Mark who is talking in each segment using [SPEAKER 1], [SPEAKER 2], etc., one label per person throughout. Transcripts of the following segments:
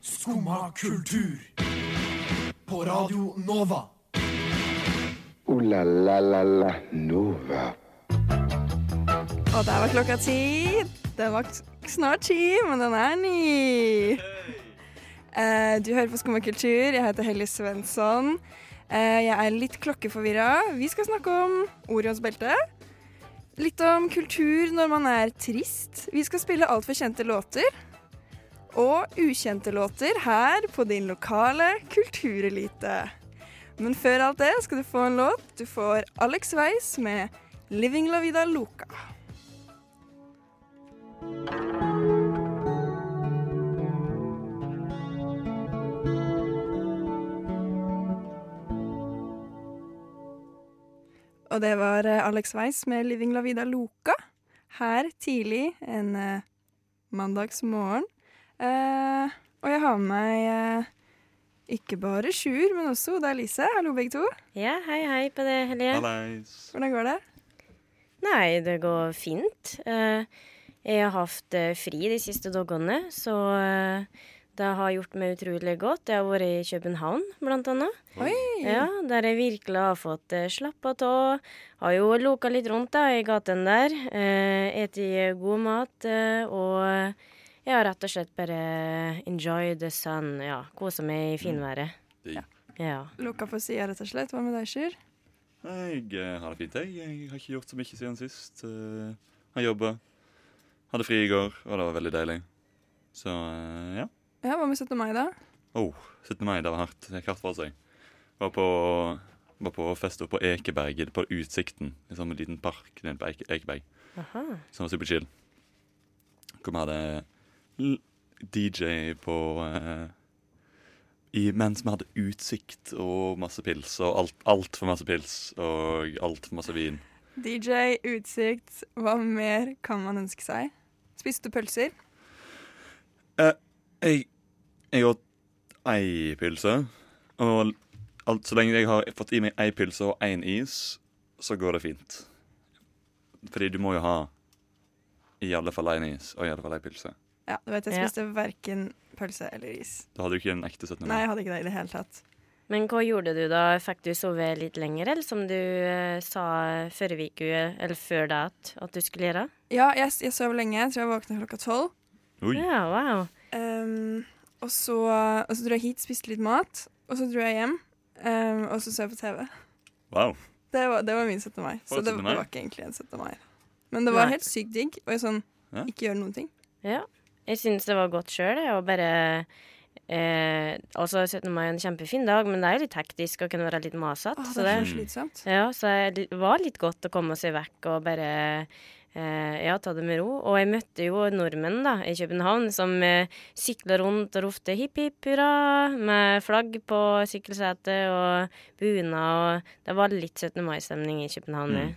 [SPEAKER 1] Skumma kultur. På Radio Nova.
[SPEAKER 2] Ooh la la la la Nova.
[SPEAKER 3] Og der var klokka ti. Den var k- snart ti, men den er ni. Eh, Du hører på Skumma kultur. Jeg heter Helly Svensson. Eh, Jeg er litt klokkeforvirra. Vi skal snakke om Orions belte. Litt om kultur når man er trist. Vi skal spille altfor kjente låter. Og ukjente låter her på din lokale kulturelite. Men før alt det skal du få en låt. Du får Alex Weiss med 'Living La Vida Loca'. Og det var eh, Alex Weiss med 'Living La Vida Loca' her tidlig en eh, mandagsmorgen. Eh, og jeg har med meg eh, ikke bare Sjur, men også Oda Elise. Hallo, begge to.
[SPEAKER 4] Ja, hei, hei på det, Hellige.
[SPEAKER 5] Hallais.
[SPEAKER 3] Hvordan går det?
[SPEAKER 4] Nei, det går fint. Eh, Jeg har hatt eh, fri de siste dagene, så eh, det har gjort meg utrolig godt. Jeg har vært i København, blant annet. Ja, der jeg virkelig har fått eh, slappa av. Har jo loka litt rundt da, i gaten der. Eh, Eti god mat. eh, Og jeg har rett og slett bare enjoy the sun. Ja, kosa meg i finværet.
[SPEAKER 5] Digg.
[SPEAKER 4] Ja.
[SPEAKER 3] Lukka på sida, rett og slett. Hva med deg, Sjur?
[SPEAKER 5] Jeg eh, har det fint, jeg. Jeg har ikke gjort så mye siden sist. Eh, Har jobba. Hadde fri i går, og det var veldig deilig. Så eh, ja.
[SPEAKER 3] Ja, Hva med 17. mai, da?
[SPEAKER 5] Oh, 17. mai, det var hardt. Det gikk hardt for seg. Var på, var på fest oppe på Ekeberget, på Utsikten. I sånn liten park nede på Eke, Ekeberg.
[SPEAKER 4] Aha.
[SPEAKER 5] Som var superchill. Hvor vi hadde l- DJ på eh, i, Mens vi hadde utsikt og masse pils. Og alt altfor masse pils og altfor masse vin.
[SPEAKER 3] DJ, utsikt, hva mer kan man ønske seg? Spiste du pølser?
[SPEAKER 5] Jeg, jeg åt ei pylse. Og alt, så lenge jeg har fått i meg ei pylse og én is, så går det fint. Fordi du må jo ha i alle fall én is og i alle fall ei pylse.
[SPEAKER 3] Ja, du vet, jeg
[SPEAKER 4] Ja.
[SPEAKER 3] spiste hverken pølse eller is.
[SPEAKER 5] Da hadde du ikke en ekte 17.
[SPEAKER 3] Nei,
[SPEAKER 5] mai.
[SPEAKER 3] jeg hadde ikke det i det hele tatt.
[SPEAKER 4] Men hva gjorde du da? Fikk du sove litt lenger, eller som du eh, sa forrige uke, eller før det, at, at du skulle gjøre?
[SPEAKER 3] Ja, jeg, jeg sov lenge. Jeg tror jeg våkna klokka tolv.
[SPEAKER 5] Oi.
[SPEAKER 4] Ja, wow.
[SPEAKER 3] Ehm, og, så, og så dro jeg hit, spiste litt mat, og så dro jeg hjem. ehm, og så så jeg på TV.
[SPEAKER 5] Wow.
[SPEAKER 3] Det var, det var min 17. mai. Så
[SPEAKER 5] Var det
[SPEAKER 3] det,
[SPEAKER 5] 17.
[SPEAKER 3] det
[SPEAKER 5] mai?
[SPEAKER 3] var ikke egentlig en 17. mai. Men det var
[SPEAKER 4] Nei.
[SPEAKER 3] helt sykt digg. Og jeg sånn
[SPEAKER 5] Ja.
[SPEAKER 3] Ikke gjør noen ting.
[SPEAKER 4] Ja. Jeg syns det var godt sjøl, jeg. Og bare eh, Altså, 17. mai er en kjempefin dag, men det er jo litt hektisk og kan være litt masete.
[SPEAKER 3] Åh,
[SPEAKER 4] så
[SPEAKER 3] det
[SPEAKER 4] det,
[SPEAKER 3] er så slitsomt.
[SPEAKER 4] ja, så det var litt godt å komme seg vekk og bare eh, ja, ta det med ro. Og jeg møtte jo nordmenn da, i København som eh, sykla rundt og ropte hipp hipp hurra med flagg på sykkelsetet og bunad. Og det var litt 17. mai-stemning i København. jeg.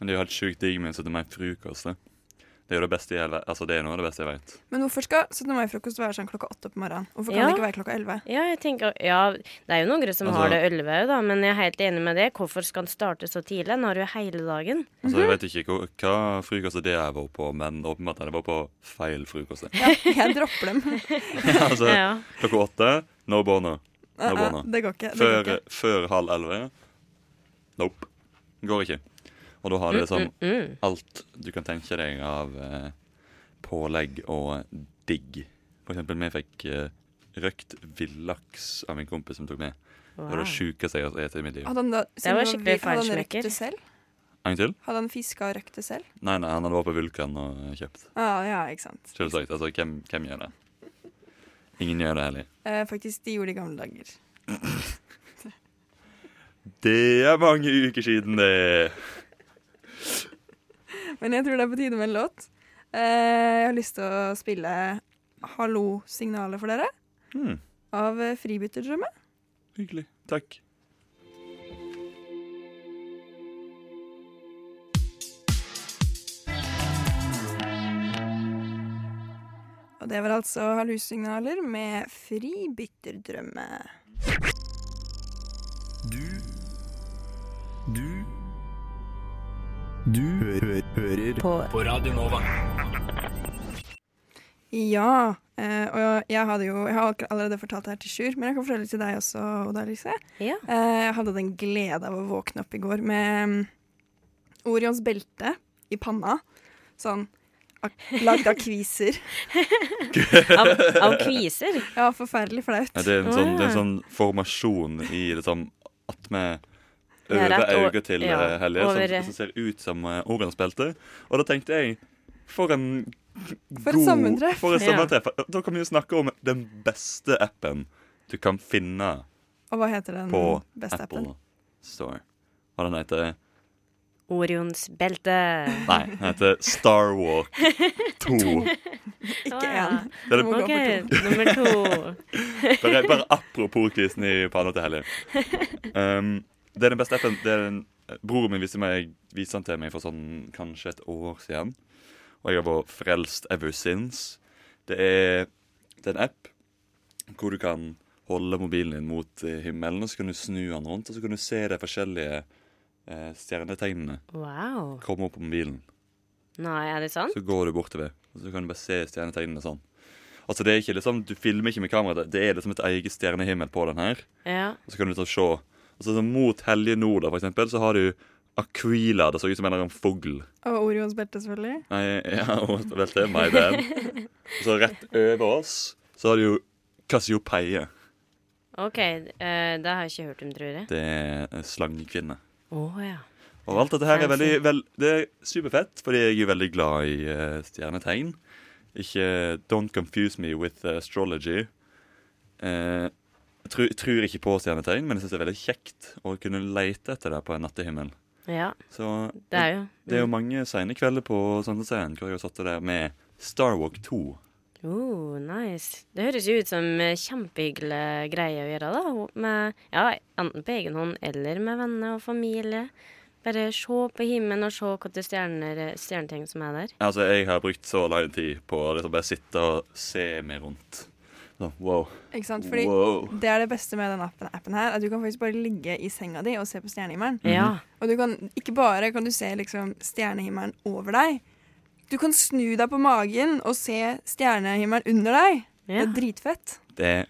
[SPEAKER 5] Men det er jo helt sjukt digg med 17. mai-frokost. Det. det er jo det beste jeg vet. Altså, det er noe av det beste jeg vet.
[SPEAKER 3] Men hvorfor skal 17. mai-frokost være sånn klokka åtte på morgenen? Hvorfor kan
[SPEAKER 4] Ja.
[SPEAKER 3] det ikke være klokka elleve?
[SPEAKER 4] Ja, jeg tenker, ja, det er jo noen som har det
[SPEAKER 5] Altså-
[SPEAKER 4] elleve, da, men jeg er helt enig med det. Hvorfor skal en starte så tidlig? En har jo hele dagen.
[SPEAKER 5] Altså,
[SPEAKER 3] Mhm.
[SPEAKER 5] Jeg vet ikke hva, hva frokost det jeg var på, men åpenbart er det var på feil frokost.
[SPEAKER 3] Ja, jeg dropper dem.
[SPEAKER 5] altså,
[SPEAKER 4] Ja.
[SPEAKER 5] Klokka åtte, no bono.
[SPEAKER 3] Nei,
[SPEAKER 5] No
[SPEAKER 3] nei,
[SPEAKER 5] bono.
[SPEAKER 3] det går ikke. Det går
[SPEAKER 5] Før,
[SPEAKER 3] ikke.
[SPEAKER 5] før halv elleve? Nope. Går ikke. Og da har du liksom
[SPEAKER 4] Mm.
[SPEAKER 5] alt du kan tenke deg av eh, pålegg og digg. For eksempel, vi fikk eh, røkt villaks av min kompis som tok med. Det var
[SPEAKER 4] Wow.
[SPEAKER 5] det sjukeste jeg har spist i mitt liv.
[SPEAKER 3] Hadde han da, siden
[SPEAKER 4] var
[SPEAKER 3] vi-
[SPEAKER 4] skikkelig
[SPEAKER 3] hadde han røkt
[SPEAKER 4] feinschmecker.
[SPEAKER 3] det selv?
[SPEAKER 5] En til?
[SPEAKER 3] Hadde han fiska og røkt det selv?
[SPEAKER 5] Nei, nei, han hadde vært på Vulkan og kjøpt.
[SPEAKER 3] Ah, ja, ikke sant.
[SPEAKER 5] Selvsagt. Altså, hvem, hvem gjør det? Ingen gjør det heller.
[SPEAKER 3] Eh, faktisk, de gjorde det i gamle dager.
[SPEAKER 5] Det er mange uker siden, det.
[SPEAKER 3] Men jeg tror det er på tide med en låt. Eh, jeg har lyst til å spille 'Hallo-signalet' for dere.
[SPEAKER 5] Hmm,
[SPEAKER 3] Av eh, Fribytterdrømme.
[SPEAKER 5] hyggelig. Takk.
[SPEAKER 3] Og det var altså hallusignaler med fribytterdrømme.
[SPEAKER 6] Du Du Du hø hø hører på. Radio Nova.
[SPEAKER 3] Ja, Eh, og jeg, hadde jo, jeg har akkur- allerede fortalt det her til Sjur, men jeg kan fortelle det til deg også, Oda Elise.
[SPEAKER 4] Ja.
[SPEAKER 3] Eh, jeg hadde den glede av å våkne opp i går med mm, Orions belte i panna. Sånn ak- lagd av kviser.
[SPEAKER 4] Av, av kviser.
[SPEAKER 3] Ja, forferdelig flaut.
[SPEAKER 5] Ja, det, er en sånn, det er en sånn formasjon i liksom at vi
[SPEAKER 4] Ja,
[SPEAKER 5] øver
[SPEAKER 4] rett over-
[SPEAKER 5] øyet til
[SPEAKER 4] ja,
[SPEAKER 5] eh, Hellige,
[SPEAKER 4] over-
[SPEAKER 5] som, som ser ut som eh, Orions belte. Og da tenkte jeg For en
[SPEAKER 3] For et sammentreff.
[SPEAKER 5] For et
[SPEAKER 4] Ja.
[SPEAKER 5] sammentreff. Da kan vi jo snakke om den beste appen du kan finne
[SPEAKER 3] Og hva heter den
[SPEAKER 5] på
[SPEAKER 3] Mm, beste appen?
[SPEAKER 5] Apple Store. Hva den heter
[SPEAKER 4] Orions belte.
[SPEAKER 5] Nei, den heter Star Walk 2.
[SPEAKER 3] Ikke én.
[SPEAKER 5] Det er
[SPEAKER 3] Må gå
[SPEAKER 5] det,
[SPEAKER 4] OK,
[SPEAKER 3] for
[SPEAKER 4] nummer to.
[SPEAKER 5] bare, bare apropos krisen i panna til Hellige. Um, det er den beste appen. Det er den, broren min viste, meg, viste den til meg for sånn kanskje et år siden. Og jeg har vært frelst ever since. Det er, det er en app hvor du kan holde mobilen din mot eh, himmelen, og så kan du snu den rundt, og så kan du se de forskjellige eh, stjernetegnene
[SPEAKER 4] Wow.
[SPEAKER 5] komme opp på mobilen.
[SPEAKER 4] Nei, er det sant?
[SPEAKER 5] Så går du bortover, og så kan du bare se stjernetegnene sånn. Altså, det er ikke liksom, Du filmer ikke med kamera, det- det er liksom et eget stjernehimmel på den her.
[SPEAKER 4] Ja.
[SPEAKER 5] Og så kan du ta se. Og så, så mot Hellige Nord, da, for eksempel, så har du Aquila. Det så ut som en eller annen fugl.
[SPEAKER 3] Og Orions belte, selvfølgelig.
[SPEAKER 5] Nei, ja, og vel det, my bad. Og så rett over oss så har du jo Cassiopeia.
[SPEAKER 4] OK, eh, det har jeg ikke hørt om, tror jeg.
[SPEAKER 5] Det er en slangekvinne.
[SPEAKER 4] Å ja.
[SPEAKER 5] Og alt dette her er veldig vel, Det er superfett, fordi jeg er veldig glad i eh, stjernetegn. Ikke Don't confuse me with astrology. Eh, jeg, tror, jeg tror ikke på stjernetegn, men jeg syns det er veldig kjekt å kunne leite etter det på en nattehimmel.
[SPEAKER 4] Ja,
[SPEAKER 5] Så
[SPEAKER 4] det er jo
[SPEAKER 5] Det er jo mange seine kvelder på Sandnesscenen hvor jeg har satt det der med Star Walk 2.
[SPEAKER 4] Oh, nice. Det høres jo ut som eh, kjempehyggelig greie å gjøre, da. og Med, ja, enten på egen hånd eller med venner og familie. Bare se på himmelen og se hvilke stjerner, stjerneting som er der.
[SPEAKER 5] Altså, jeg har brukt så lang tid på å liksom bare sitte og se meg rundt. Så, wow.
[SPEAKER 3] Ikke sant? Fordi
[SPEAKER 5] wow.
[SPEAKER 3] det er det beste med den appen, appen her, at du kan faktisk bare ligge i senga di og se på stjernehimmelen.
[SPEAKER 4] Ja.
[SPEAKER 3] Og du kan, ikke bare kan du se liksom, stjernehimmelen over deg, du kan snu deg på magen og se stjernehimmelen under deg. Det
[SPEAKER 4] ja.
[SPEAKER 3] er dritfett.
[SPEAKER 5] Det er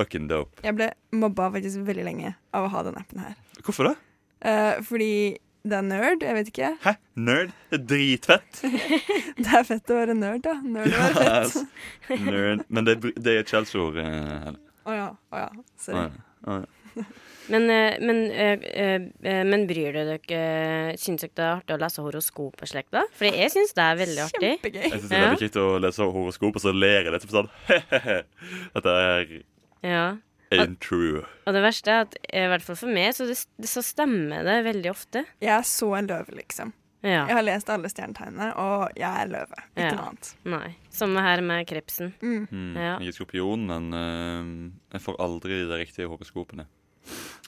[SPEAKER 5] fucking dope.
[SPEAKER 3] Jeg ble mobba faktisk veldig lenge av å ha den appen her.
[SPEAKER 5] Hvorfor det?
[SPEAKER 3] Eh, fordi det er nerd, jeg vet ikke.
[SPEAKER 5] Hæ? Nerd? Det er dritfett.
[SPEAKER 3] Det er fett å være nerd, da. Nerd å være fett.
[SPEAKER 5] Yes. Nerd. Men det, er br- det er et kjeldsord. eh, Helle.
[SPEAKER 3] Å ja. Å ja. Sorry.
[SPEAKER 5] Å, ja. Å, ja.
[SPEAKER 4] Men, eh, men, eh, eh, men bryr dere dere Syns dere det er artig å lese horoskop og slikt, da? Fordi jeg syns det er veldig artig.
[SPEAKER 3] Kjempegøy.
[SPEAKER 5] Jeg syns det er veldig kjekt å lese horoskop, og så ler jeg litt for sånn he-he-he. Dette er
[SPEAKER 4] Ja.
[SPEAKER 5] ain't true.
[SPEAKER 4] Og det verste er at, eh, i hvert fall for meg, så, det, så stemmer det veldig ofte.
[SPEAKER 3] Jeg er så en løve, liksom.
[SPEAKER 4] Ja.
[SPEAKER 3] Jeg har lest alle stjernetegnene, og jeg er løve. Ikke
[SPEAKER 4] Ja.
[SPEAKER 3] noe annet.
[SPEAKER 4] Nei. Samme her med krepsen.
[SPEAKER 5] Mm.
[SPEAKER 4] Ja.
[SPEAKER 5] Jeg er skorpion, men eh, jeg får aldri de riktige horoskopene.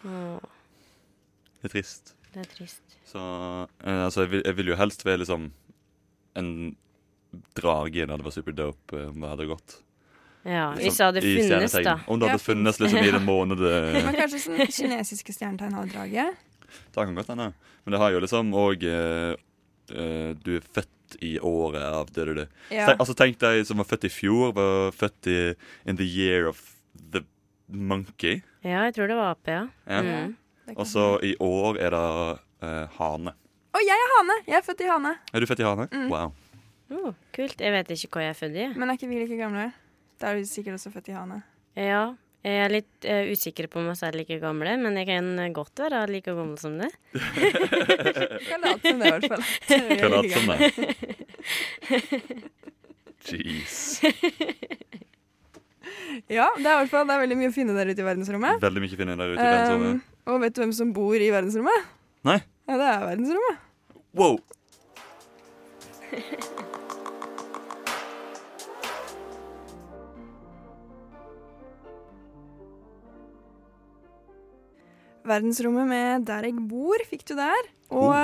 [SPEAKER 4] Åh,
[SPEAKER 5] Det er trist.
[SPEAKER 4] det er trist.
[SPEAKER 5] Så eh, altså, jeg vil, jeg vil jo helst være liksom en drage. Det hadde vært superdope eh, om det hadde gått.
[SPEAKER 4] Ja,
[SPEAKER 5] Liksom,
[SPEAKER 4] hvis det hadde
[SPEAKER 5] i
[SPEAKER 4] funnes,
[SPEAKER 5] stjernetegn.
[SPEAKER 4] da.
[SPEAKER 5] Om det
[SPEAKER 3] Ja,
[SPEAKER 5] hadde funnes liksom, i den måneden.
[SPEAKER 3] Men kanskje sånn kinesiske stjernetegn har drage?
[SPEAKER 5] Det kan godt hende. Men det har jo liksom òg Du er født i året av det du er.
[SPEAKER 3] Ja.
[SPEAKER 5] Tenk, altså, tenk de som var født i fjor, var født i in the year of the monkey.
[SPEAKER 4] Ja, jeg tror det var ape, ja.
[SPEAKER 5] Ja.
[SPEAKER 4] Mm.
[SPEAKER 3] det kan-
[SPEAKER 5] Og så i år er det eh, hane.
[SPEAKER 3] Å, jeg er hane! Jeg er født i hane.
[SPEAKER 5] Er du født i hane?
[SPEAKER 3] Mm.
[SPEAKER 5] Wow.
[SPEAKER 4] Oh, kult. Jeg vet ikke hva jeg er født i. jeg.
[SPEAKER 3] Men er ikke vi like gamle? Da er du sikkert også født i hane.
[SPEAKER 4] Ja, jeg er litt eh, usikker på om jeg er like gamle, men jeg kan godt være like gammel som det.
[SPEAKER 3] Kan late som det, i hvert fall. Så er vi
[SPEAKER 5] Hva
[SPEAKER 3] like
[SPEAKER 5] late som
[SPEAKER 3] gamle.
[SPEAKER 5] det? Jeez.
[SPEAKER 3] Ja, det er, i hvert fall, det er veldig mye å finne der ute i verdensrommet.
[SPEAKER 5] Veldig mye finner der ute i verdensrommet.
[SPEAKER 3] Um, og vet du hvem som bor i verdensrommet?
[SPEAKER 5] Nei?
[SPEAKER 3] Ja, det er verdensrommet.
[SPEAKER 5] Wow.
[SPEAKER 3] Verdensrommet med Der jeg bor fikk du der. Og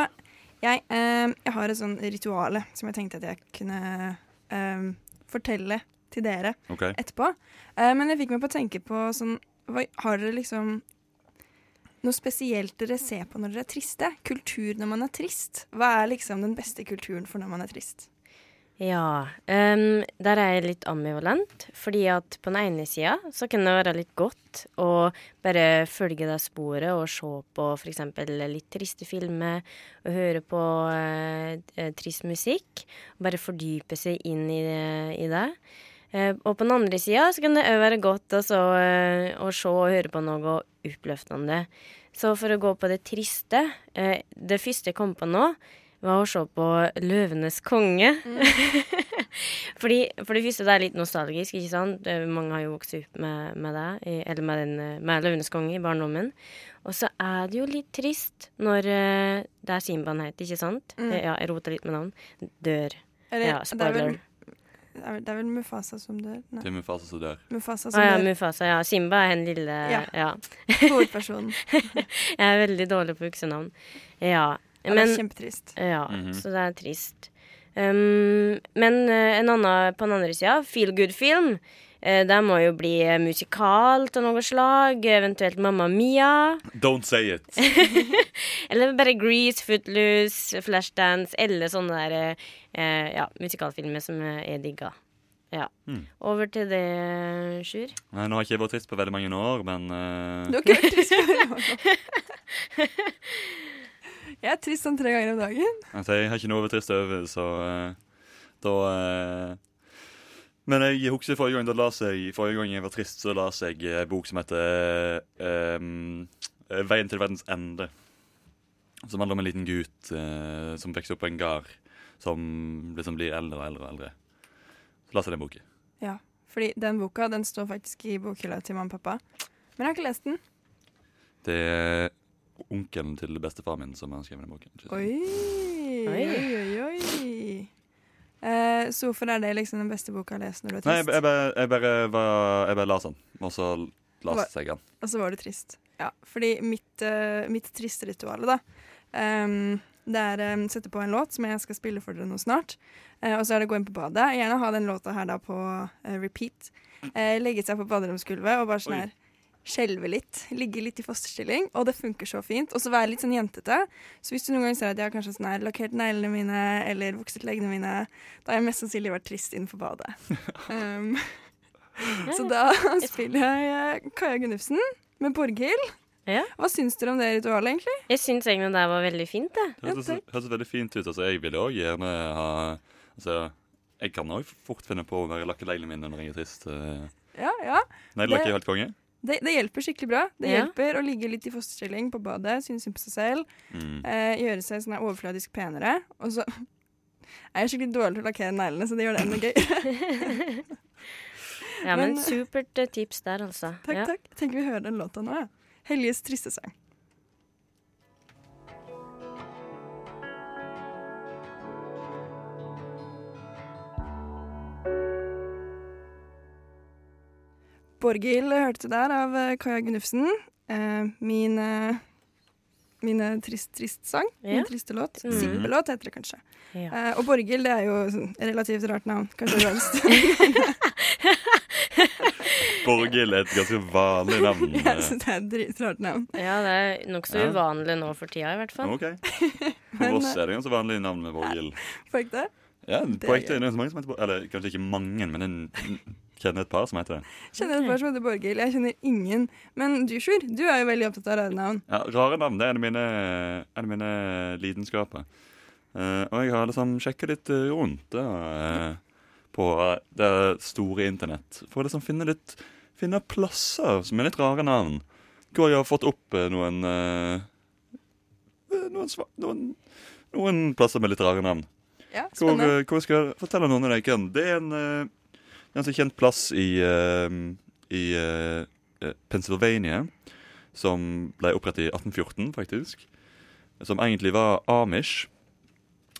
[SPEAKER 3] jeg, eh, jeg har et sånn rituale som jeg tenkte at jeg kunne eh, fortelle til dere
[SPEAKER 5] OK.
[SPEAKER 3] etterpå. Eh, men jeg fikk meg på å tenke på sånn hva, Har dere liksom noe spesielt dere ser på når dere er triste? Kultur når man er trist? Hva er liksom den beste kulturen for når man er trist?
[SPEAKER 4] Ja. ehm, der er jeg litt ambivalent. Fordi at på den ene sida så kan det være litt godt å bare følge det sporet og se på f.eks. litt triste filmer og høre på eh, eh, trist musikk. Og bare fordype seg inn i det. I det. Eh, og på den andre sida så kan det òg være godt altså, eh, å se og høre på noe oppløftende. Så for å gå på det triste eh, Det første jeg kom på nå, var å se på 'Løvenes konge'. Fordi, for det første, det er litt nostalgisk, ikke sant? Eh, Mange har jo vokst opp med, med det, i- eller med, den, eh, med 'Løvenes konge' i barndommen. Og så er det jo litt trist når eh, Det er Simba han heter, ikke sant? Eh, Ja, jeg rota litt med navn. Dør.
[SPEAKER 3] Eller,
[SPEAKER 4] Ja,
[SPEAKER 3] Mm. det, er vel,
[SPEAKER 4] spoiler.
[SPEAKER 3] det, er vel, det er vel Mufasa som dør. Nei,
[SPEAKER 5] Det er min fase som dør.
[SPEAKER 3] Mufasa
[SPEAKER 4] Å
[SPEAKER 3] som
[SPEAKER 4] Ah, ja,
[SPEAKER 3] dør.
[SPEAKER 4] Mufasa. Ja, Simba er en lille
[SPEAKER 3] Ja.
[SPEAKER 4] ja.
[SPEAKER 3] Hovedpersonen.
[SPEAKER 4] Jeg er veldig dårlig på uksenavn. Ja.
[SPEAKER 3] Ja, det er kjempetrist.
[SPEAKER 4] Ja,
[SPEAKER 5] Mhm.
[SPEAKER 4] så det er trist. Um, men eh, en annen, på den andre sida, feel good-film. Uh, det må jo bli eh, musikal av noe slag. Eventuelt Mamma Mia.
[SPEAKER 5] Don't say it.
[SPEAKER 4] Eller bare Grease, Footloose, Flashdance. Eller sånne der eh, eh, ja, musikalfilmer som eh, er digga. Ja.
[SPEAKER 5] Mm.
[SPEAKER 4] Over til det, Sjur.
[SPEAKER 5] Nei, nå har ikke jeg vært trist på veldig mange år, men eh,
[SPEAKER 3] Du har ikke vært trist før. Jeg er trist sånn tre ganger om dagen.
[SPEAKER 5] altså, jeg har ikke noe å være trist over, så eh, da eh, Men jeg husker forrige gang da las jeg Forrige gang jeg var trist, så las jeg eh, en bok som heter eh, em, eh, 'Veien til verdens ende'. Som handler om en liten gutt eh, som vokser opp på en gard, som liksom blir eldre og eldre og eldre. Så las jeg den boka.
[SPEAKER 3] Ja, fordi den boka den står faktisk i bokhylla til mamma og pappa. Men jeg har ikke lest den.
[SPEAKER 5] Det er onkelen til bestefaren min som har skrevet den boken.
[SPEAKER 3] Oi, oi, oi, oi. Eh, så hvorfor er det liksom den beste boka å lese når du er
[SPEAKER 5] Nei, jeg,
[SPEAKER 3] trist?
[SPEAKER 5] jeg, bare, jeg, bare, var- jeg bare las den, og så
[SPEAKER 3] Hva-
[SPEAKER 5] las jeg den.
[SPEAKER 3] Og så var du trist. Ja, fordi mitt, uh, mitt tristeritual, da ehm, Det er å sette på en låt som jeg skal spille for dere nå snart. Eh, og så er det å gå inn på badet. Gjerne ha den låta her da på eh, repeat. Eh, legge seg på baderomsgulvet og bare sånn
[SPEAKER 5] Oi.
[SPEAKER 3] her skjelve litt. Ligge litt i fosterstilling. Og det funker så fint. Og så være litt sånn jentete. Så hvis du noen ganger ser at jeg har kanskje sånn her lakkert neglene mine eller vokset leggene mine, da har jeg mest sannsynlig vært trist innenfor badet. Ehm, så da spiller jeg eh, Kaja Gunnufsen med Borghild.
[SPEAKER 4] Ja.
[SPEAKER 3] Hva syns dere om det ritualet, egentlig?
[SPEAKER 4] Jeg syns egentlig det var veldig fint, det.
[SPEAKER 5] Det hørtes, hørtes veldig fint ut. Altså, jeg ville òg gjerne ha altså, Jeg kan òg fort finne på å være lakkeleilene mine når jeg er trist. eh.
[SPEAKER 3] Ja, ja.
[SPEAKER 5] Nei,
[SPEAKER 3] Det-
[SPEAKER 5] lakk er jo helt konge.
[SPEAKER 3] Det, det hjelper skikkelig bra. Det
[SPEAKER 4] Ja.
[SPEAKER 3] hjelper å ligge litt i fosterstilling på badet, synes synd på seg selv,
[SPEAKER 5] Mm.
[SPEAKER 3] eh, gjøre seg sånn her overfladisk penere. Og så er jeg skikkelig dårlig til å lakkere neglene, så det gjør det enda gøy.
[SPEAKER 4] Ja, men,
[SPEAKER 3] Men-
[SPEAKER 4] supert eh, tips der, altså.
[SPEAKER 3] Takk,
[SPEAKER 4] ja.
[SPEAKER 3] takk. Jeg tenker vi hører den låta nå, ja. Helges triste sang. Borghild hørte du der av eh, Kaja Gunnufsen. Eh, min eh, mine trist, trist sang.
[SPEAKER 4] Ja. Mm.
[SPEAKER 3] Min triste låt. Sippelåt heter det kanskje.
[SPEAKER 4] Ja.
[SPEAKER 3] Eh, og Borghild, det er jo sånn relativt rart navn. Kanskje rarest.
[SPEAKER 5] Borghild er et ganske vanlig navn. eh.
[SPEAKER 3] Jeg synes det er et dritrart navn.
[SPEAKER 4] Ja, det er nokså
[SPEAKER 5] Ja.
[SPEAKER 4] uvanlig nå for tida, i hvert
[SPEAKER 5] eh,
[SPEAKER 4] fall.
[SPEAKER 5] OK. For oss er det ganske vanlig navn med Borghild.
[SPEAKER 3] Får jeg ikke eh, det?
[SPEAKER 5] Ja,
[SPEAKER 3] er
[SPEAKER 5] på
[SPEAKER 3] gøy.
[SPEAKER 5] ekte er det ganske mange som heter Borghild. Eller kanskje ikke mange, men en, kjenner et par som heter det.
[SPEAKER 3] Kjenner et par som heter Borghild. Jeg kjenner ingen. Men du, Sjur, du er jo veldig opptatt av rare navn.
[SPEAKER 5] Ja, Rare navn. Det er en av mine, en av mine lidenskaper. Eh, og jeg har liksom sjekka litt eh, rundt da, eh, på eh, det store internett for å liksom finne litt Finne plasser som er litt rare navn. Hvor jeg har fått opp eh, noen eh, eh, noen, sva- noen noen plasser med litt rare navn.
[SPEAKER 3] Ja,
[SPEAKER 5] Hvor,
[SPEAKER 3] spennende.
[SPEAKER 5] eh, hvor skal jeg fortelle noen av dere kan? Det er en eh, en ganske kjent plass i, eh, i eh, eh, Pennsylvania, som ble opprettet i 1814, faktisk. Som egentlig var Amish.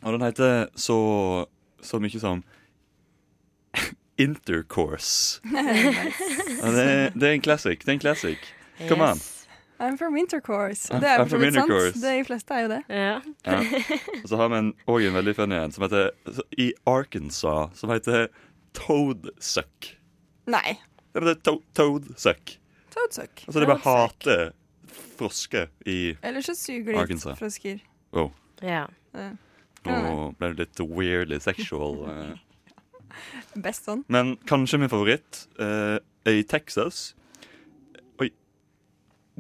[SPEAKER 5] Og den heter så, så mye som Intercourse. Ja, det, er- det er en classic. Det er en classic. Come on.
[SPEAKER 4] Yes.
[SPEAKER 3] I'm from Wintercourse.
[SPEAKER 5] eh, Ja,
[SPEAKER 3] Det er
[SPEAKER 5] I'm
[SPEAKER 3] jo for
[SPEAKER 5] from
[SPEAKER 3] så vidt sant.
[SPEAKER 5] Intercourse.
[SPEAKER 3] De fleste er jo det.
[SPEAKER 4] Ja.
[SPEAKER 5] Ja. Og så har vi en, også en veldig funny en som heter I Arkansas, som heter Toadsuck.
[SPEAKER 3] Nei.
[SPEAKER 5] Det heter to Toadsuck.
[SPEAKER 3] Toadsuck.
[SPEAKER 5] Altså, de bare hater frosker i
[SPEAKER 3] Eller så suger de
[SPEAKER 5] Arkansas.
[SPEAKER 3] frosker.
[SPEAKER 5] Wow.
[SPEAKER 4] Ja.
[SPEAKER 3] Det-
[SPEAKER 5] Nå ble det litt weirdly sexual. eh.
[SPEAKER 3] Best sånn.
[SPEAKER 5] Men kanskje min favoritt eh, er i Texas. Oi.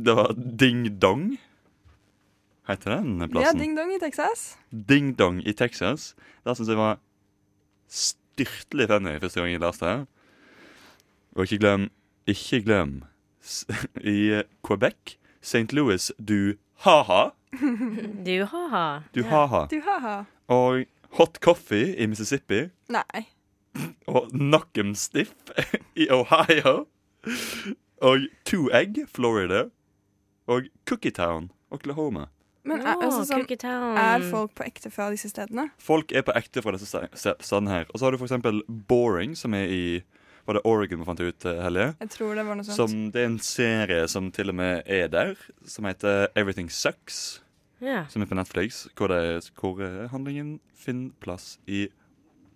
[SPEAKER 5] Det var Ding Dong. Heter den
[SPEAKER 3] Ja,
[SPEAKER 5] plassen?
[SPEAKER 3] Ding Dong i Texas.
[SPEAKER 5] Ding Dong i Texas. Det syns jeg var styrtelig funny første gang jeg leste det. Og ikke glem, ikke glem s- I eh, Quebec, St. Louis, du ha-ha.
[SPEAKER 4] Du ha-ha.
[SPEAKER 5] Du ha-ha.
[SPEAKER 3] Du ha-ha.
[SPEAKER 5] Og hot coffee i Mississippi.
[SPEAKER 3] Nei.
[SPEAKER 5] Og knock 'em stiff i Ohio. Og two egg, Florida. Og Cookie Town, Oklahoma.
[SPEAKER 3] Men er, altså, sånn, er folk på ekte fra disse stedene?
[SPEAKER 5] Folk er på ekte fra disse sta- sta- stedene her. Og så har du for eksempel Boring, som er i Var det Oregon vi fant ut, eh, Hellige?
[SPEAKER 3] Jeg tror det var noe sånt.
[SPEAKER 5] Som, det er en serie som til og med er der, som heter Everything Sucks.
[SPEAKER 4] Ja,
[SPEAKER 5] Som er på Netflix, hvor, det, er- hvor eh, handlingen finner plass i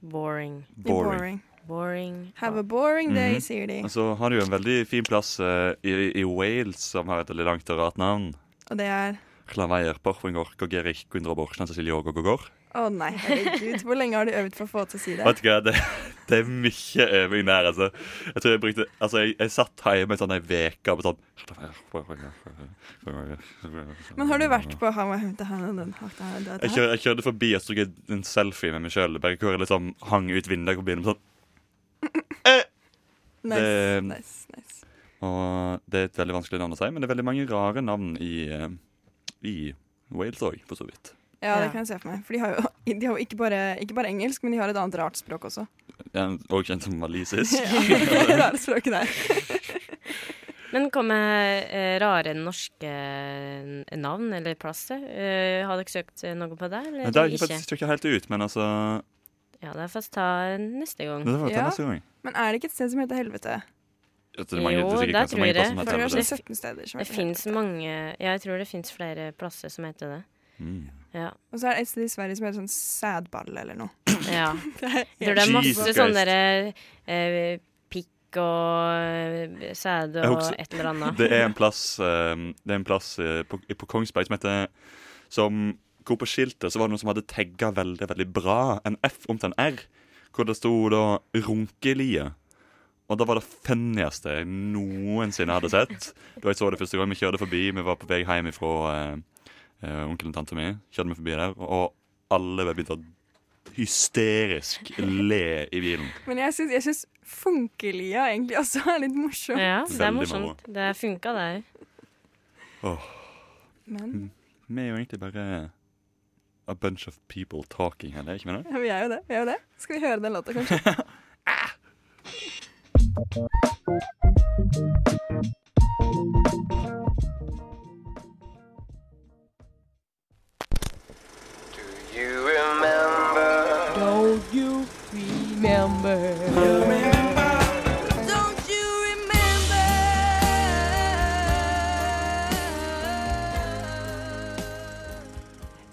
[SPEAKER 4] boring.
[SPEAKER 3] I
[SPEAKER 5] Boring.
[SPEAKER 4] Boring.
[SPEAKER 3] Have a boring day,
[SPEAKER 5] Mhm.
[SPEAKER 3] sier de.
[SPEAKER 5] Og så har du jo en veldig fin plass eh, i, i Wales, som har et veldig langt og rart navn.
[SPEAKER 3] Og det er
[SPEAKER 5] Chlaveir, Porfengor, Gogerich, Gundrobor, Chancesilio, Gogogor.
[SPEAKER 3] Å nei, herregud. Hvor lenge har du øvd for å få til å si det?
[SPEAKER 5] Vet du hva, det, det er mye øving der, altså. Jeg tror jeg brukte Altså, jeg, jeg satt hjemme sånn ei uke på sånn
[SPEAKER 3] Men har du vært på Hawaii?
[SPEAKER 5] Jeg, kjør, jeg kjørte forbi og tok en selfie med meg sjøl. Bare hvor jeg liksom hang ut vinduet og begynte med sånn.
[SPEAKER 3] Nice,
[SPEAKER 5] Det-
[SPEAKER 3] nice, nice.
[SPEAKER 5] Og det er et veldig vanskelig navn å si, men det er veldig mange rare navn i, eh, i Wales òg, for så vidt.
[SPEAKER 3] Ja, det
[SPEAKER 4] Ja.
[SPEAKER 3] kan jeg se for meg. For de har jo, de har jo ikke, bare, ikke bare engelsk, men de har et annet rart språk også.
[SPEAKER 5] Og kjent som walisisk.
[SPEAKER 3] det rare språket der.
[SPEAKER 4] Men kommer eh, rare norske eh, navn eller plasser? Eh, har dere søkt eh, noe på det, eller
[SPEAKER 5] Men Det er ikke,
[SPEAKER 4] ikke?
[SPEAKER 5] faktisk ikke helt ut, men altså
[SPEAKER 4] Ja, det får vi ta neste gang.
[SPEAKER 5] Det var
[SPEAKER 3] Ja.
[SPEAKER 5] neste gang.
[SPEAKER 3] Men er det ikke et sted som heter Helvete?
[SPEAKER 5] Jo, det er mange,
[SPEAKER 4] Jo,
[SPEAKER 5] det er sikkert
[SPEAKER 4] der
[SPEAKER 5] ganske mange
[SPEAKER 4] tror jeg
[SPEAKER 5] plasser som
[SPEAKER 3] For
[SPEAKER 5] heter
[SPEAKER 3] det er
[SPEAKER 5] Helvete.
[SPEAKER 3] sånn 17 steder som
[SPEAKER 4] Det
[SPEAKER 3] heter
[SPEAKER 4] fins
[SPEAKER 3] Helvete.
[SPEAKER 4] mange Ja, jeg tror det fins flere plasser som heter det.
[SPEAKER 5] Mm.
[SPEAKER 4] Ja.
[SPEAKER 3] Og så er det et sted i Sverige som heter sånn sædball eller noe.
[SPEAKER 4] ja.
[SPEAKER 3] Det
[SPEAKER 4] Jeg tror det er
[SPEAKER 5] Jesus
[SPEAKER 4] masse
[SPEAKER 5] Christ.
[SPEAKER 4] sånne derre eh, pikk og eh, sæd
[SPEAKER 5] Jeg
[SPEAKER 4] og
[SPEAKER 5] husker-
[SPEAKER 4] et eller annet.
[SPEAKER 5] Det er en plass, eh, det er en plass eh, på, på Kongsberg som heter Som hvor på skiltet så var det noen som hadde tagga veldig veldig bra en F om til en R, hvor det sto da 'Runkelie'. Og det var det funnieste jeg noensinne hadde sett. Da jeg så det første gang vi kjørte forbi, vi var på vei hjem fra onkelen og tanta mi, kjørte vi forbi der, og alle bare begynte å hysterisk le i bilen.
[SPEAKER 3] Men jeg syns, jeg syns funkelia egentlig også er litt morsom.
[SPEAKER 4] Ja, det er
[SPEAKER 5] Veldig
[SPEAKER 4] morsomt. Det funka, det òg.
[SPEAKER 3] Men
[SPEAKER 5] Vi er jo egentlig bare a bunch of people talking her, ikke sant?
[SPEAKER 3] vi er jo det. Vi er jo det. Skal vi høre den låta, kanskje?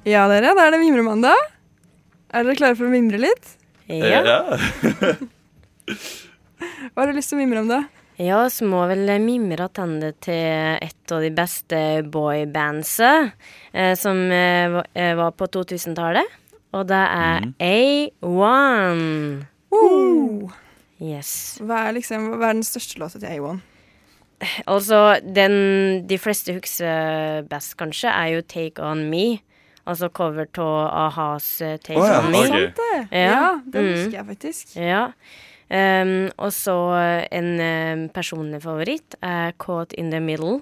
[SPEAKER 3] Ja, dere. Da er det Mimremandag. Er dere klare for å mimre litt?
[SPEAKER 5] Eh,
[SPEAKER 4] Ja.
[SPEAKER 3] Hva har du lyst til å mimre om, da?
[SPEAKER 4] Ja, så må vel mimre attende til et av de beste boybandsa eh, som eh, va- eh, var på 2000-tallet. Og det er
[SPEAKER 5] Mm.
[SPEAKER 4] A1. Yes.
[SPEAKER 3] Hva er, liksom, hva er den største låta til A1?
[SPEAKER 4] Altså, den de fleste husker best, kanskje, er jo Take On Me. Altså cover av A-has eh, Take
[SPEAKER 5] Å ja,
[SPEAKER 4] On Me.
[SPEAKER 5] ok.
[SPEAKER 3] Sant det?
[SPEAKER 4] Ja.
[SPEAKER 3] den
[SPEAKER 4] Mm.
[SPEAKER 3] husker jeg faktisk.
[SPEAKER 4] Ja. Ehm, og så en eh, personlig favoritt er Caught In The Middle,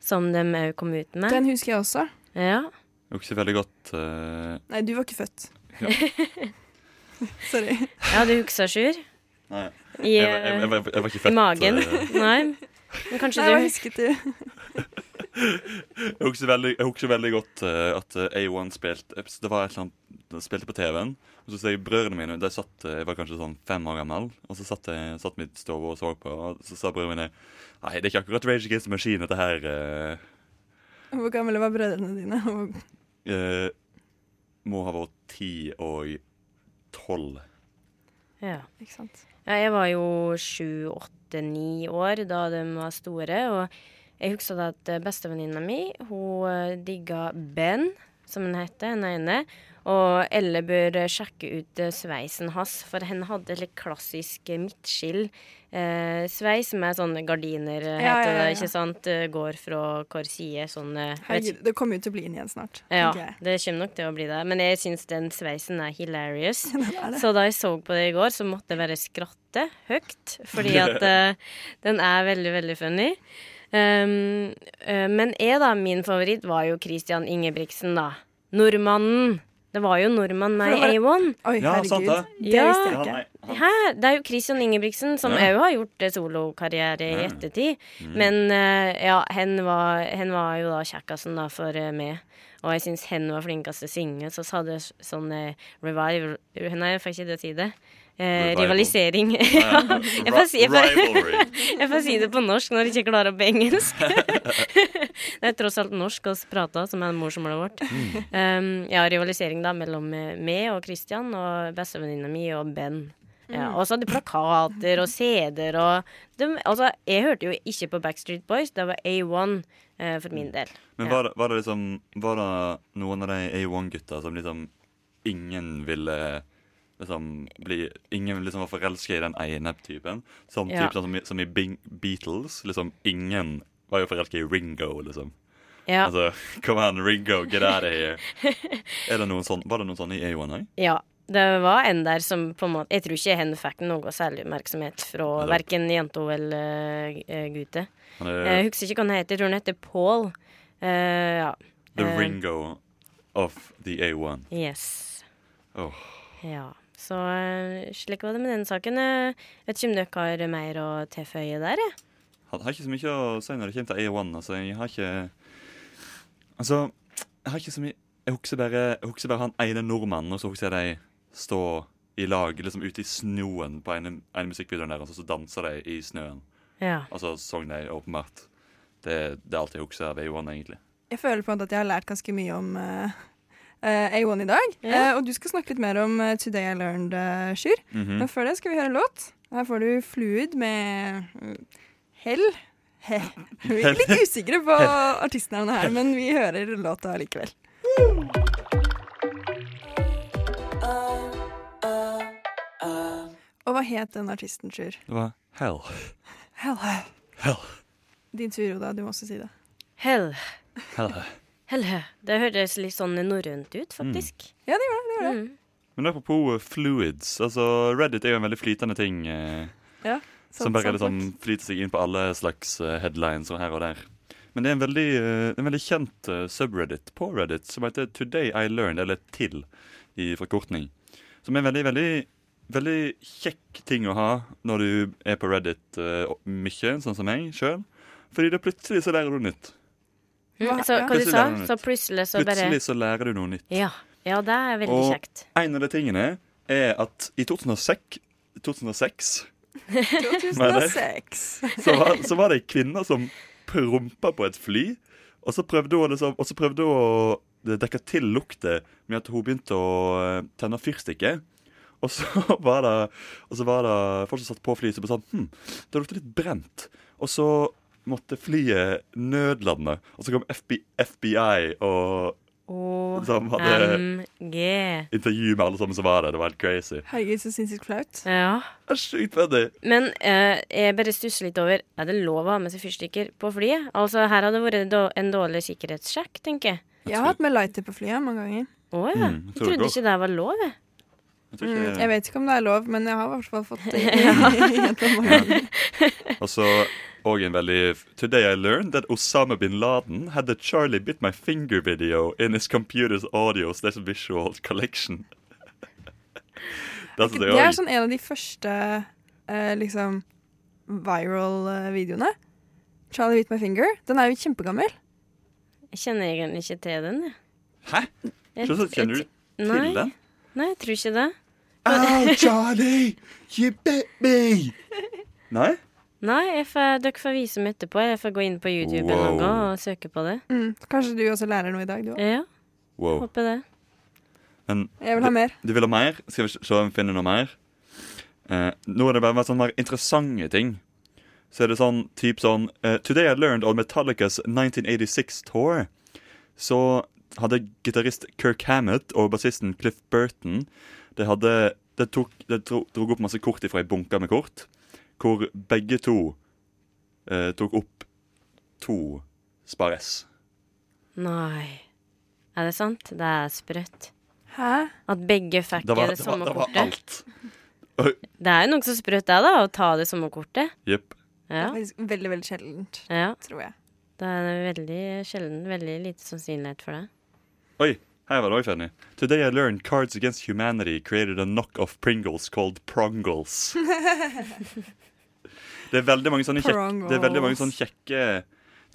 [SPEAKER 4] som de òg kom ut med.
[SPEAKER 3] Den husker jeg også.
[SPEAKER 4] Ja.
[SPEAKER 5] Jeg husker veldig godt eh,
[SPEAKER 3] Nei, du var ikke født. Sorry.
[SPEAKER 4] Ja, du husker, Sjur?
[SPEAKER 5] Nei,
[SPEAKER 4] I, eh,
[SPEAKER 5] jeg, var- jeg, var- jeg var ikke
[SPEAKER 4] i
[SPEAKER 5] født.
[SPEAKER 4] magen?
[SPEAKER 5] eh,
[SPEAKER 4] Nei. Men kanskje
[SPEAKER 3] Nei, hva
[SPEAKER 4] du
[SPEAKER 3] husket du?
[SPEAKER 5] jeg, husker veldig, jeg husker veldig godt eh, at eh, A1 spilte Det var et eller annet de spilte på TV-en. Og så ser jeg brødrene mine de satt, eh, Jeg var kanskje sånn fem år gammel. Og så satt jeg satt mitt stove og så på, og så sa brødrene mine Nei, det er ikke akkurat Rage Against the Machine, dette her. eh,
[SPEAKER 3] Hvor gamle var brødrene dine? Og-
[SPEAKER 5] eh, må ha vært ti og tolv.
[SPEAKER 4] ja.
[SPEAKER 3] Ikke sant?
[SPEAKER 4] ja, jeg var jo sju, åtte, ni år da de var store, og jeg husker eh, da at bestevenninna mi, hun eh, digga Ben, som hun heter, den ene, Og alle bør eh, sjekke ut eh, sveisen hans, for han hadde litt klassisk eh, midtskill. Eh, sveis med sånne gardiner, eh,
[SPEAKER 3] Ja,
[SPEAKER 4] heter
[SPEAKER 3] ja, ja.
[SPEAKER 4] det, ikke sant? Eh, Går fra hver side, sånn eh, vet
[SPEAKER 3] Herregud, det kommer jo til å bli inn igjen snart.
[SPEAKER 4] ja,
[SPEAKER 3] tenker jeg.
[SPEAKER 4] det kommer nok til å bli det. Men jeg syns den sveisen er hilarious.
[SPEAKER 3] er det.
[SPEAKER 4] Så da jeg så på det i går, så måtte jeg bare skratte høyt. Fordi at eh, den er veldig, veldig funny. Um, eh, men jeg, da, min favoritt var jo Christian Ingebrigtsen, da. Nordmannen. Det var jo nordmann med
[SPEAKER 3] For
[SPEAKER 4] i
[SPEAKER 3] det
[SPEAKER 4] A1.
[SPEAKER 3] Oi,
[SPEAKER 5] Ja,
[SPEAKER 3] herregud.
[SPEAKER 5] sant
[SPEAKER 3] det.
[SPEAKER 5] det.
[SPEAKER 4] Ja.
[SPEAKER 3] visste jeg
[SPEAKER 5] Ja,
[SPEAKER 3] ikke.
[SPEAKER 5] nei, han,
[SPEAKER 4] Hæ? Det er jo Christian Ingebrigtsen som òg
[SPEAKER 5] Ja. Mm.
[SPEAKER 4] har gjort eh, solokarriere i ettertid. Men eh, ja, hen var, hen var jo da kjekkasen da for eh, meg. Og jeg syns hen var flinkest til å synge. Så sa det s- sånn eh, revival Nei, jeg får ikke det å si det. Eh,
[SPEAKER 5] Revival.
[SPEAKER 4] rivalisering.
[SPEAKER 5] ja,
[SPEAKER 4] Ja, jeg får si- jeg får-
[SPEAKER 5] rivalry.
[SPEAKER 4] jeg får si det på norsk når jeg ikke klarer det på engelsk. det er tross alt norsk oss prata, som er morsmålet vårt.
[SPEAKER 5] Mm.
[SPEAKER 4] Um, ja, rivalisering da mellom eh, meg og Christian og bestevenninna mi og Ben.
[SPEAKER 5] Mm.
[SPEAKER 4] Ja, og så hadde plakater og CD-er og de, Altså, jeg hørte jo ikke på Backstreet Boys, det var A1 eh, for min del.
[SPEAKER 5] Mm. Men var, det- var det liksom Var det noen av de A1-gutta som liksom ingen ville Liksom bli, ingen liksom var forelska i den ene typen. Som,
[SPEAKER 4] Ja.
[SPEAKER 5] typ, sånn som, i- som i Bing, Beatles. Liksom ingen var jo forelska i Ringo, liksom.
[SPEAKER 4] Ja.
[SPEAKER 5] Altså, come on, Ringo, get out of here. Er det noen sånn, var det noen sånne i A1 òg?
[SPEAKER 4] Ja, det var en der som på en måte Jeg tror ikke hen fikk noe særlig oppmerksomhet fra
[SPEAKER 5] Nei da.
[SPEAKER 4] verken jenta eller uh, gutte.
[SPEAKER 5] Han
[SPEAKER 4] Jeg
[SPEAKER 5] er
[SPEAKER 4] husker ikke hva han heter. Jeg tror han heter Paul. Eh, ja.
[SPEAKER 5] the
[SPEAKER 4] eh.
[SPEAKER 5] Ringo of the A1.
[SPEAKER 4] Yes.
[SPEAKER 5] Åh.
[SPEAKER 4] Ja. Så eh, slik var det med den saken. Jeg vet ikke om dere har mer å tilføye der, jeg.
[SPEAKER 5] Han har ikke så mye å si når det kommer til A1. Altså, jeg har ikke Altså, jeg har ikke så mye Jeg husker bare, jeg husker bare han ene nordmannen, og så husker jeg de stå i lag liksom ute i snøen på ene, ene musikkvideoen der, og så, så danser de i snøen.
[SPEAKER 4] Ja.
[SPEAKER 5] Og så sang de åpenbart. Det, det er alt jeg husker av A1, egentlig.
[SPEAKER 3] Jeg føler på en måte at jeg har lært ganske mye om eh, eh, A1 i dag.
[SPEAKER 4] Ja.
[SPEAKER 3] Eh, og du skal snakke litt mer om eh, Today I Learned, uh, Sjur.
[SPEAKER 5] Mhm.
[SPEAKER 3] Men før det skal vi høre en låt. Her får du Fluid med mm, Hell. He. Vi er litt usikre på artistnavnet her, men vi hører låta likevel. Og hva het den artisten, Sjur?
[SPEAKER 5] Det var hell.
[SPEAKER 3] Hell.
[SPEAKER 5] Hell.
[SPEAKER 3] Din tur, Oda. Du må også si det.
[SPEAKER 4] Hell.
[SPEAKER 5] hell.
[SPEAKER 4] Hell. Det hørtes litt sånn norrønt
[SPEAKER 5] Mm.
[SPEAKER 4] ut, faktisk.
[SPEAKER 3] Ja, det gjorde det. det, gjorde det.
[SPEAKER 5] Men apropos eh, fluids. altså Reddit er jo en veldig flytende ting eh,
[SPEAKER 3] Ja,
[SPEAKER 4] Sånn
[SPEAKER 5] som bare
[SPEAKER 3] sant
[SPEAKER 5] liksom flyter seg inn på alle slags eh, headlines og her og der. Men det er en veldig, eh, en veldig kjent eh, subreddit på Reddit som heter Today I Learned, eller TIL i forkortning. Som er en veldig, veldig, veldig kjekk ting å ha når du er på Reddit eh, og- mye, sånn som meg sjøl. Fordi da plutselig så lærer du nytt.
[SPEAKER 4] Mm.
[SPEAKER 3] Hva-
[SPEAKER 4] Så hva du
[SPEAKER 5] Plutselig
[SPEAKER 4] sa?
[SPEAKER 5] lærer han
[SPEAKER 4] Så
[SPEAKER 5] ut.
[SPEAKER 4] plutselig så bare
[SPEAKER 5] Plutselig så lærer du noe nytt.
[SPEAKER 4] Ja. Ja, det er veldig
[SPEAKER 5] Og-
[SPEAKER 4] kjekt.
[SPEAKER 5] En av de tingene er at i 2006, 2006
[SPEAKER 3] 2006.
[SPEAKER 5] så var, så var det ei kvinne som prompa på et fly. Og så prøvde hun, liksom, og så prøvde hun å dekke til luktet med at hun begynte å eh, tenne fyrstikker. Og så var det, og så var det folk som satt på flyet, som bare sånn Hm, det lukter litt brent. Og så måtte flyet nødlande. Og så kom FB, FBI og Som hadde-
[SPEAKER 4] OMG.
[SPEAKER 5] intervju med alle sammen som var der. Det var helt crazy.
[SPEAKER 3] Herregud, så sinnssykt flaut.
[SPEAKER 4] Ja.
[SPEAKER 5] Det er sjukt funny.
[SPEAKER 4] Men eh, jeg bare stusser litt over Er det lov å ha med seg fyrstikker på flyet? Altså, her hadde det vært då- en dårlig sikkerhetssjekk, tenker jeg.
[SPEAKER 3] Jeg har hatt med lighter på flyet mange ganger.
[SPEAKER 4] Å ja.
[SPEAKER 5] Mm, jeg
[SPEAKER 4] jeg
[SPEAKER 5] tror det
[SPEAKER 4] trodde
[SPEAKER 5] går.
[SPEAKER 4] ikke det var lov, jeg.
[SPEAKER 5] Jeg tror ikke-
[SPEAKER 3] Mm, Jeg vet ikke om det er lov, men jeg har i hvert fall fått det. gjennom mange ganger.
[SPEAKER 5] Og så og en veldig Today I learned that Osama bin Laden had the Charlie bit my finger video in his computer's audio slash visual collection. Det synes jeg
[SPEAKER 3] Det er
[SPEAKER 5] også.
[SPEAKER 3] sånn en av de første eh, liksom viral-videoene. Charlie With My Finger. Den er jo kjempegammel.
[SPEAKER 4] Jeg kjenner egentlig ikke til den. jeg.
[SPEAKER 5] Hæ?
[SPEAKER 4] Jeg-
[SPEAKER 5] Sånn, kjenner du
[SPEAKER 4] jeg-
[SPEAKER 5] til
[SPEAKER 4] Nei.
[SPEAKER 5] den?
[SPEAKER 4] Nei, jeg tror ikke det.
[SPEAKER 5] Ow, Charlie! You bit me! Nei?
[SPEAKER 4] Nei, jeg får, dere får vise meg etterpå. Jeg får gå inn på YouTube eller
[SPEAKER 5] Wow.
[SPEAKER 4] noe og søke på det.
[SPEAKER 3] Mm. Kanskje du også lærer noe i dag, du òg.
[SPEAKER 4] Ja,
[SPEAKER 5] Wow.
[SPEAKER 4] håper det.
[SPEAKER 5] Men
[SPEAKER 3] Jeg vil ha mer.
[SPEAKER 5] Du vil ha mer? Skal vi se om vi finner noe mer? Eh, nå er det bare mer sånne mer interessante ting. Så er det sånn typ sånn eh, Today I learned on Metallicas 1986 tour. Så hadde gitarist Kirk Hammett og bassisten Cliff Burton De, hadde, de, tok, de dro, drog opp masse kort ifra ei bunke med kort, hvor begge to eh, tok opp to Spar S.
[SPEAKER 4] Nei. Er det sant? Det er sprøtt.
[SPEAKER 3] Hæ?
[SPEAKER 4] At begge fikk det,
[SPEAKER 5] Det var, det, var,
[SPEAKER 4] samme
[SPEAKER 5] det var
[SPEAKER 4] kortet.
[SPEAKER 5] alt.
[SPEAKER 4] Det er jo nokså sprøtt, det, da, å ta det samme kortet.
[SPEAKER 5] Jepp.
[SPEAKER 4] Ja.
[SPEAKER 3] Faktisk Veldig, veldig sjeldent,
[SPEAKER 4] ja.
[SPEAKER 3] tror jeg.
[SPEAKER 4] Det er veldig sjelden. Veldig lite sannsynlighet for det.
[SPEAKER 5] Oi, her var det òg funny. Today I learned Cards Against Humanity created a knock-off Pringles called Prongles. det er veldig mange sånne kjekke,
[SPEAKER 3] Prongles.
[SPEAKER 5] det er veldig mange sånne kjekke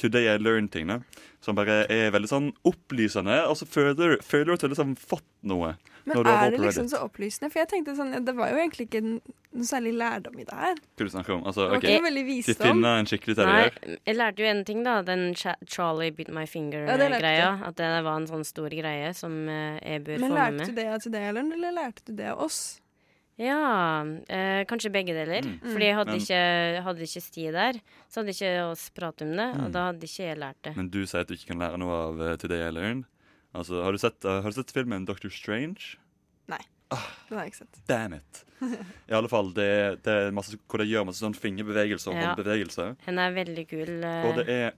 [SPEAKER 5] Today I learned-ting da, som bare er veldig sånn opplysende, og så føler, føler du at du har liksom fått noe.
[SPEAKER 3] Men
[SPEAKER 5] Når du
[SPEAKER 3] er
[SPEAKER 5] har
[SPEAKER 3] det
[SPEAKER 5] opplevd
[SPEAKER 3] liksom så opplysende? For jeg tenkte sånn, det var jo egentlig ikke n- noe særlig lærdom i det her. Det
[SPEAKER 5] Hva du snakker om? Altså,
[SPEAKER 3] var
[SPEAKER 5] ok,
[SPEAKER 3] ikke noe veldig
[SPEAKER 5] De
[SPEAKER 3] visdom.
[SPEAKER 5] finner en skikkelig
[SPEAKER 4] Nei,
[SPEAKER 5] terrier.
[SPEAKER 4] jeg lærte jo en ting, da. Den cha- Charlie Bit My
[SPEAKER 3] Ja, det lærte
[SPEAKER 4] Finger-greia. at det var en sånn stor greie som eh, jeg bør
[SPEAKER 3] Men
[SPEAKER 4] få med
[SPEAKER 3] lærte
[SPEAKER 4] meg.
[SPEAKER 3] du det av Tudalen, eller lærte du det av oss?
[SPEAKER 4] Ja, eh, kanskje begge deler. Fordi jeg hadde,
[SPEAKER 5] Mm. Men-
[SPEAKER 4] ikke, hadde ikke sti der. Så hadde ikke oss pratet om det, og da hadde ikke jeg lært det.
[SPEAKER 5] Mm. Men du sier at du ikke kan lære noe av eh, Today I learned. Altså, har du sett, eh, har du sett filmen Doctor Strange?
[SPEAKER 3] Den har jeg ikke sett.
[SPEAKER 5] Damn it. I alle fall, det, er- det er masse, hvor de gjør masse sånn fingerbevegelser og
[SPEAKER 4] Ja.
[SPEAKER 5] håndbevegelser.
[SPEAKER 4] Hun er veldig kul. eh,
[SPEAKER 5] Og det er,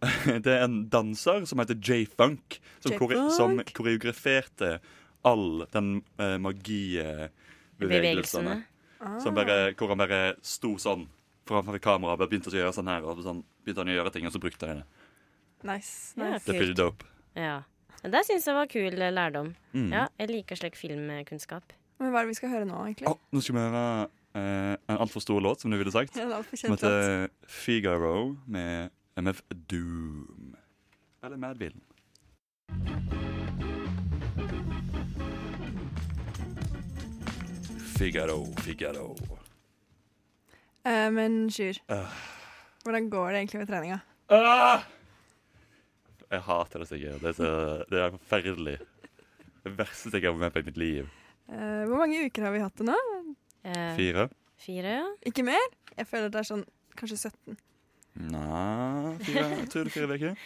[SPEAKER 5] det er en danser som heter J-Funk, som,
[SPEAKER 3] J.
[SPEAKER 5] kore,
[SPEAKER 3] Funk.
[SPEAKER 5] som koreograferte all den uh, magibevegelsene.
[SPEAKER 4] bevegelsene. Ah.
[SPEAKER 5] Som bare, hvor han bare sto sånn framfor kameraet og bare begynte å gjøre sånn her, og sånn, begynte han å gjøre ting, og så brukte han det.
[SPEAKER 3] Nice.
[SPEAKER 4] Ja,
[SPEAKER 3] nice.
[SPEAKER 5] Det er pretty dope.
[SPEAKER 4] Ja. Men Det syns jeg var kul eh, lærdom.
[SPEAKER 5] Mm.
[SPEAKER 4] Ja, jeg liker slik filmkunnskap.
[SPEAKER 3] Men hva er det vi skal høre nå, egentlig?
[SPEAKER 5] Å, nå skal vi høre eh, en altfor stor låt, som du ville sagt.
[SPEAKER 3] Ja, det er altfor
[SPEAKER 5] Som
[SPEAKER 3] kjent låt.
[SPEAKER 5] heter Figaro med MF Doom. Eller Madbilen. Figaro, Figaro.
[SPEAKER 3] Eh, men Sjur,
[SPEAKER 5] Øh.
[SPEAKER 3] hvordan går det egentlig med treninga?
[SPEAKER 5] Ah! Jeg hater det sikkert. Det er, så, det er forferdelig. Det verste jeg har vært med på i mitt liv.
[SPEAKER 3] Eh, hvor mange uker har vi hatt det nå?
[SPEAKER 4] Eh,
[SPEAKER 5] Fire?
[SPEAKER 4] fire, ja.
[SPEAKER 3] Ikke mer? Jeg føler det er sånn kanskje 17.
[SPEAKER 5] Nei, fire, jeg tror det er fire uker.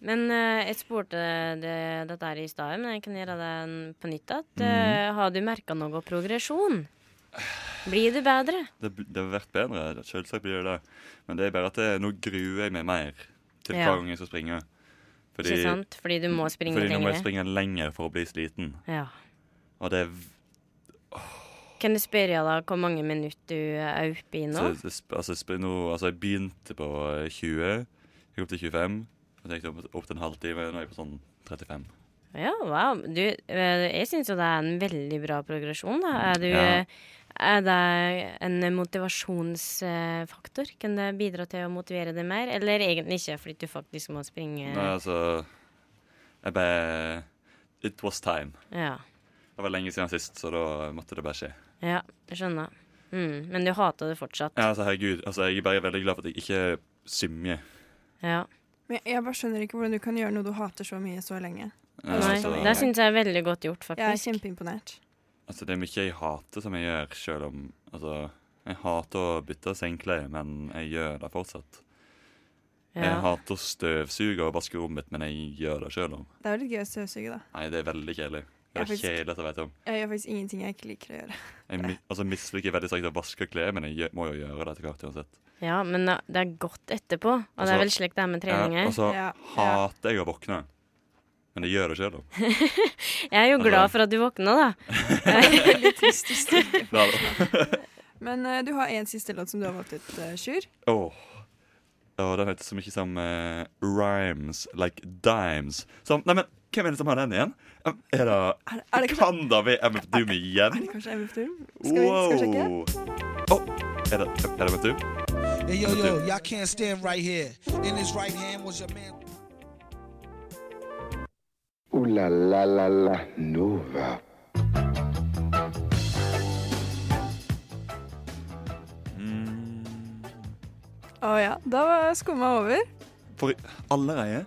[SPEAKER 4] Men eh, jeg spurte det, dette her i stad, men jeg kan gjøre det en- på nytt. At,
[SPEAKER 5] Mhm.
[SPEAKER 4] eh, har du merka noe progresjon? Blir det bedre?
[SPEAKER 5] Det, det har vært bedre. Selvsagt blir det det. Men det er bare at det, nå gruer jeg meg mer til
[SPEAKER 4] Ja.
[SPEAKER 5] hver gang jeg skal springe. Fordi,
[SPEAKER 4] Ikke sant? Fordi du må springe
[SPEAKER 5] fordi nå må
[SPEAKER 4] lenger.
[SPEAKER 5] jeg springe lenger for å bli sliten.
[SPEAKER 4] Ja.
[SPEAKER 5] Og det, er v-
[SPEAKER 4] Kan jeg spørre deg hvor mange minutter du er oppe i nå?
[SPEAKER 5] så, det sp- altså, jeg spr- nå, altså, jeg begynte på eh, 20, jeg kom til 25, og så gikk det opp, opp til en halvtime, nå er jeg på sånn 35.
[SPEAKER 4] Ja, wow. Du, eh, jeg syns jo det er en veldig bra progresjon, da. Er, du,
[SPEAKER 5] Ja.
[SPEAKER 4] eh, er det en motivasjonsfaktor? Kan det bidra til å motivere deg mer? Eller egentlig ikke, fordi du faktisk må springe
[SPEAKER 5] Nei, altså, jeg bare, it was time.
[SPEAKER 4] Ja,
[SPEAKER 5] Det var lenge siden sist, så da måtte det bare skje.
[SPEAKER 4] ja jeg skjønner. Mm, men du hater det fortsatt.
[SPEAKER 5] Ja, altså, herregud, altså, jeg er bare veldig glad for at jeg ikke symmer.
[SPEAKER 4] Ja.
[SPEAKER 3] Men jeg, jeg bare skjønner ikke hvordan du kan gjøre noe du hater så mye så lenge.
[SPEAKER 5] Ja,
[SPEAKER 4] Nei,
[SPEAKER 5] altså,
[SPEAKER 4] det syns jeg er veldig godt gjort,
[SPEAKER 3] Jeg er
[SPEAKER 4] faktisk.
[SPEAKER 3] kjempeimponert.
[SPEAKER 5] Altså, det er mye jeg hater som jeg gjør, selv om Altså, jeg hater å bytte sengeklær, men jeg gjør det fortsatt. Jeg
[SPEAKER 4] Ja.
[SPEAKER 5] hater å støvsuge og vaske rommet, men jeg gjør det selv om.
[SPEAKER 3] Det er jo litt gøy å støvsuge, da.
[SPEAKER 5] Nei, det er veldig kjedelig. Det
[SPEAKER 3] Ja,
[SPEAKER 5] er
[SPEAKER 3] faktisk.
[SPEAKER 5] kjedelig at jeg vet om.
[SPEAKER 3] Jeg gjør faktisk ingenting jeg ikke liker å gjøre.
[SPEAKER 5] Jeg mi- altså, misliker veldig sterkt å vaske klær, men jeg gjør, må jo gjøre det etter hvert uansett.
[SPEAKER 4] ja, men det det er godt etterpå. Og det
[SPEAKER 5] Altså,
[SPEAKER 4] er vel slik det er med treninger.
[SPEAKER 5] Ja, altså, og så
[SPEAKER 3] Ja, ja.
[SPEAKER 5] hater jeg å våkne, men jeg gjør det selv om.
[SPEAKER 4] jeg er jo
[SPEAKER 5] Altså-
[SPEAKER 4] glad for at du våkna, da.
[SPEAKER 3] Litt trist å snakke.
[SPEAKER 5] Det er-
[SPEAKER 3] Men eh, du har en siste låt som du har valgt ut, eh, Sjur.
[SPEAKER 5] Åh. Åh, den heter så mye som eh, Rhymes Like Dimes. Som, nei, men hvem er det som har den igjen? Er det
[SPEAKER 3] Er, er det kanskje,
[SPEAKER 5] Kan da vi MF Doom igjen?
[SPEAKER 3] er det kanskje MF Doom? Skal vi, skal vi sjekke?
[SPEAKER 5] Wow. Åh, er det, er det MF Doom?
[SPEAKER 7] Hey, yo, yo, y'all can't stand right here. In his right hand was a man.
[SPEAKER 2] Ooh la la la la Nova.
[SPEAKER 3] Å ja. Da var skumma over.
[SPEAKER 5] For allerede?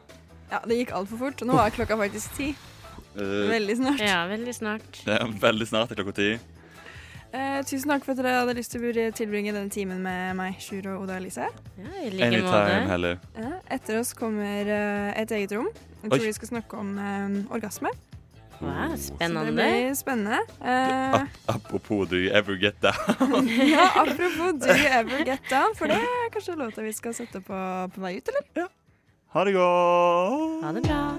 [SPEAKER 3] Ja, det gikk altfor fort. Nå er klokka faktisk ti.
[SPEAKER 5] Uh,
[SPEAKER 3] Veldig snart.
[SPEAKER 4] Ja, veldig snart.
[SPEAKER 5] det er veldig snart det er klokka ti.
[SPEAKER 3] Eh, tusen takk for at dere hadde lyst til å tilbringe denne timen med meg, Sjur og Oda Elise.
[SPEAKER 4] Ja, I like
[SPEAKER 5] Anytime,
[SPEAKER 4] måte.
[SPEAKER 5] heller.
[SPEAKER 3] Ja, etter oss kommer eh, et eget rom Jeg tror
[SPEAKER 5] Oi.
[SPEAKER 3] vi skal snakke om eh, orgasme.
[SPEAKER 4] Wow,
[SPEAKER 3] Så det
[SPEAKER 4] spennende.
[SPEAKER 3] blir spennende. Eh,
[SPEAKER 5] Apropos Do You Ever Get That.
[SPEAKER 3] ja, apropos Do You Ever Get Down, for det er kanskje låta vi skal sette på på vei ut, eller?
[SPEAKER 5] Ha det godt.
[SPEAKER 4] Ha det bra.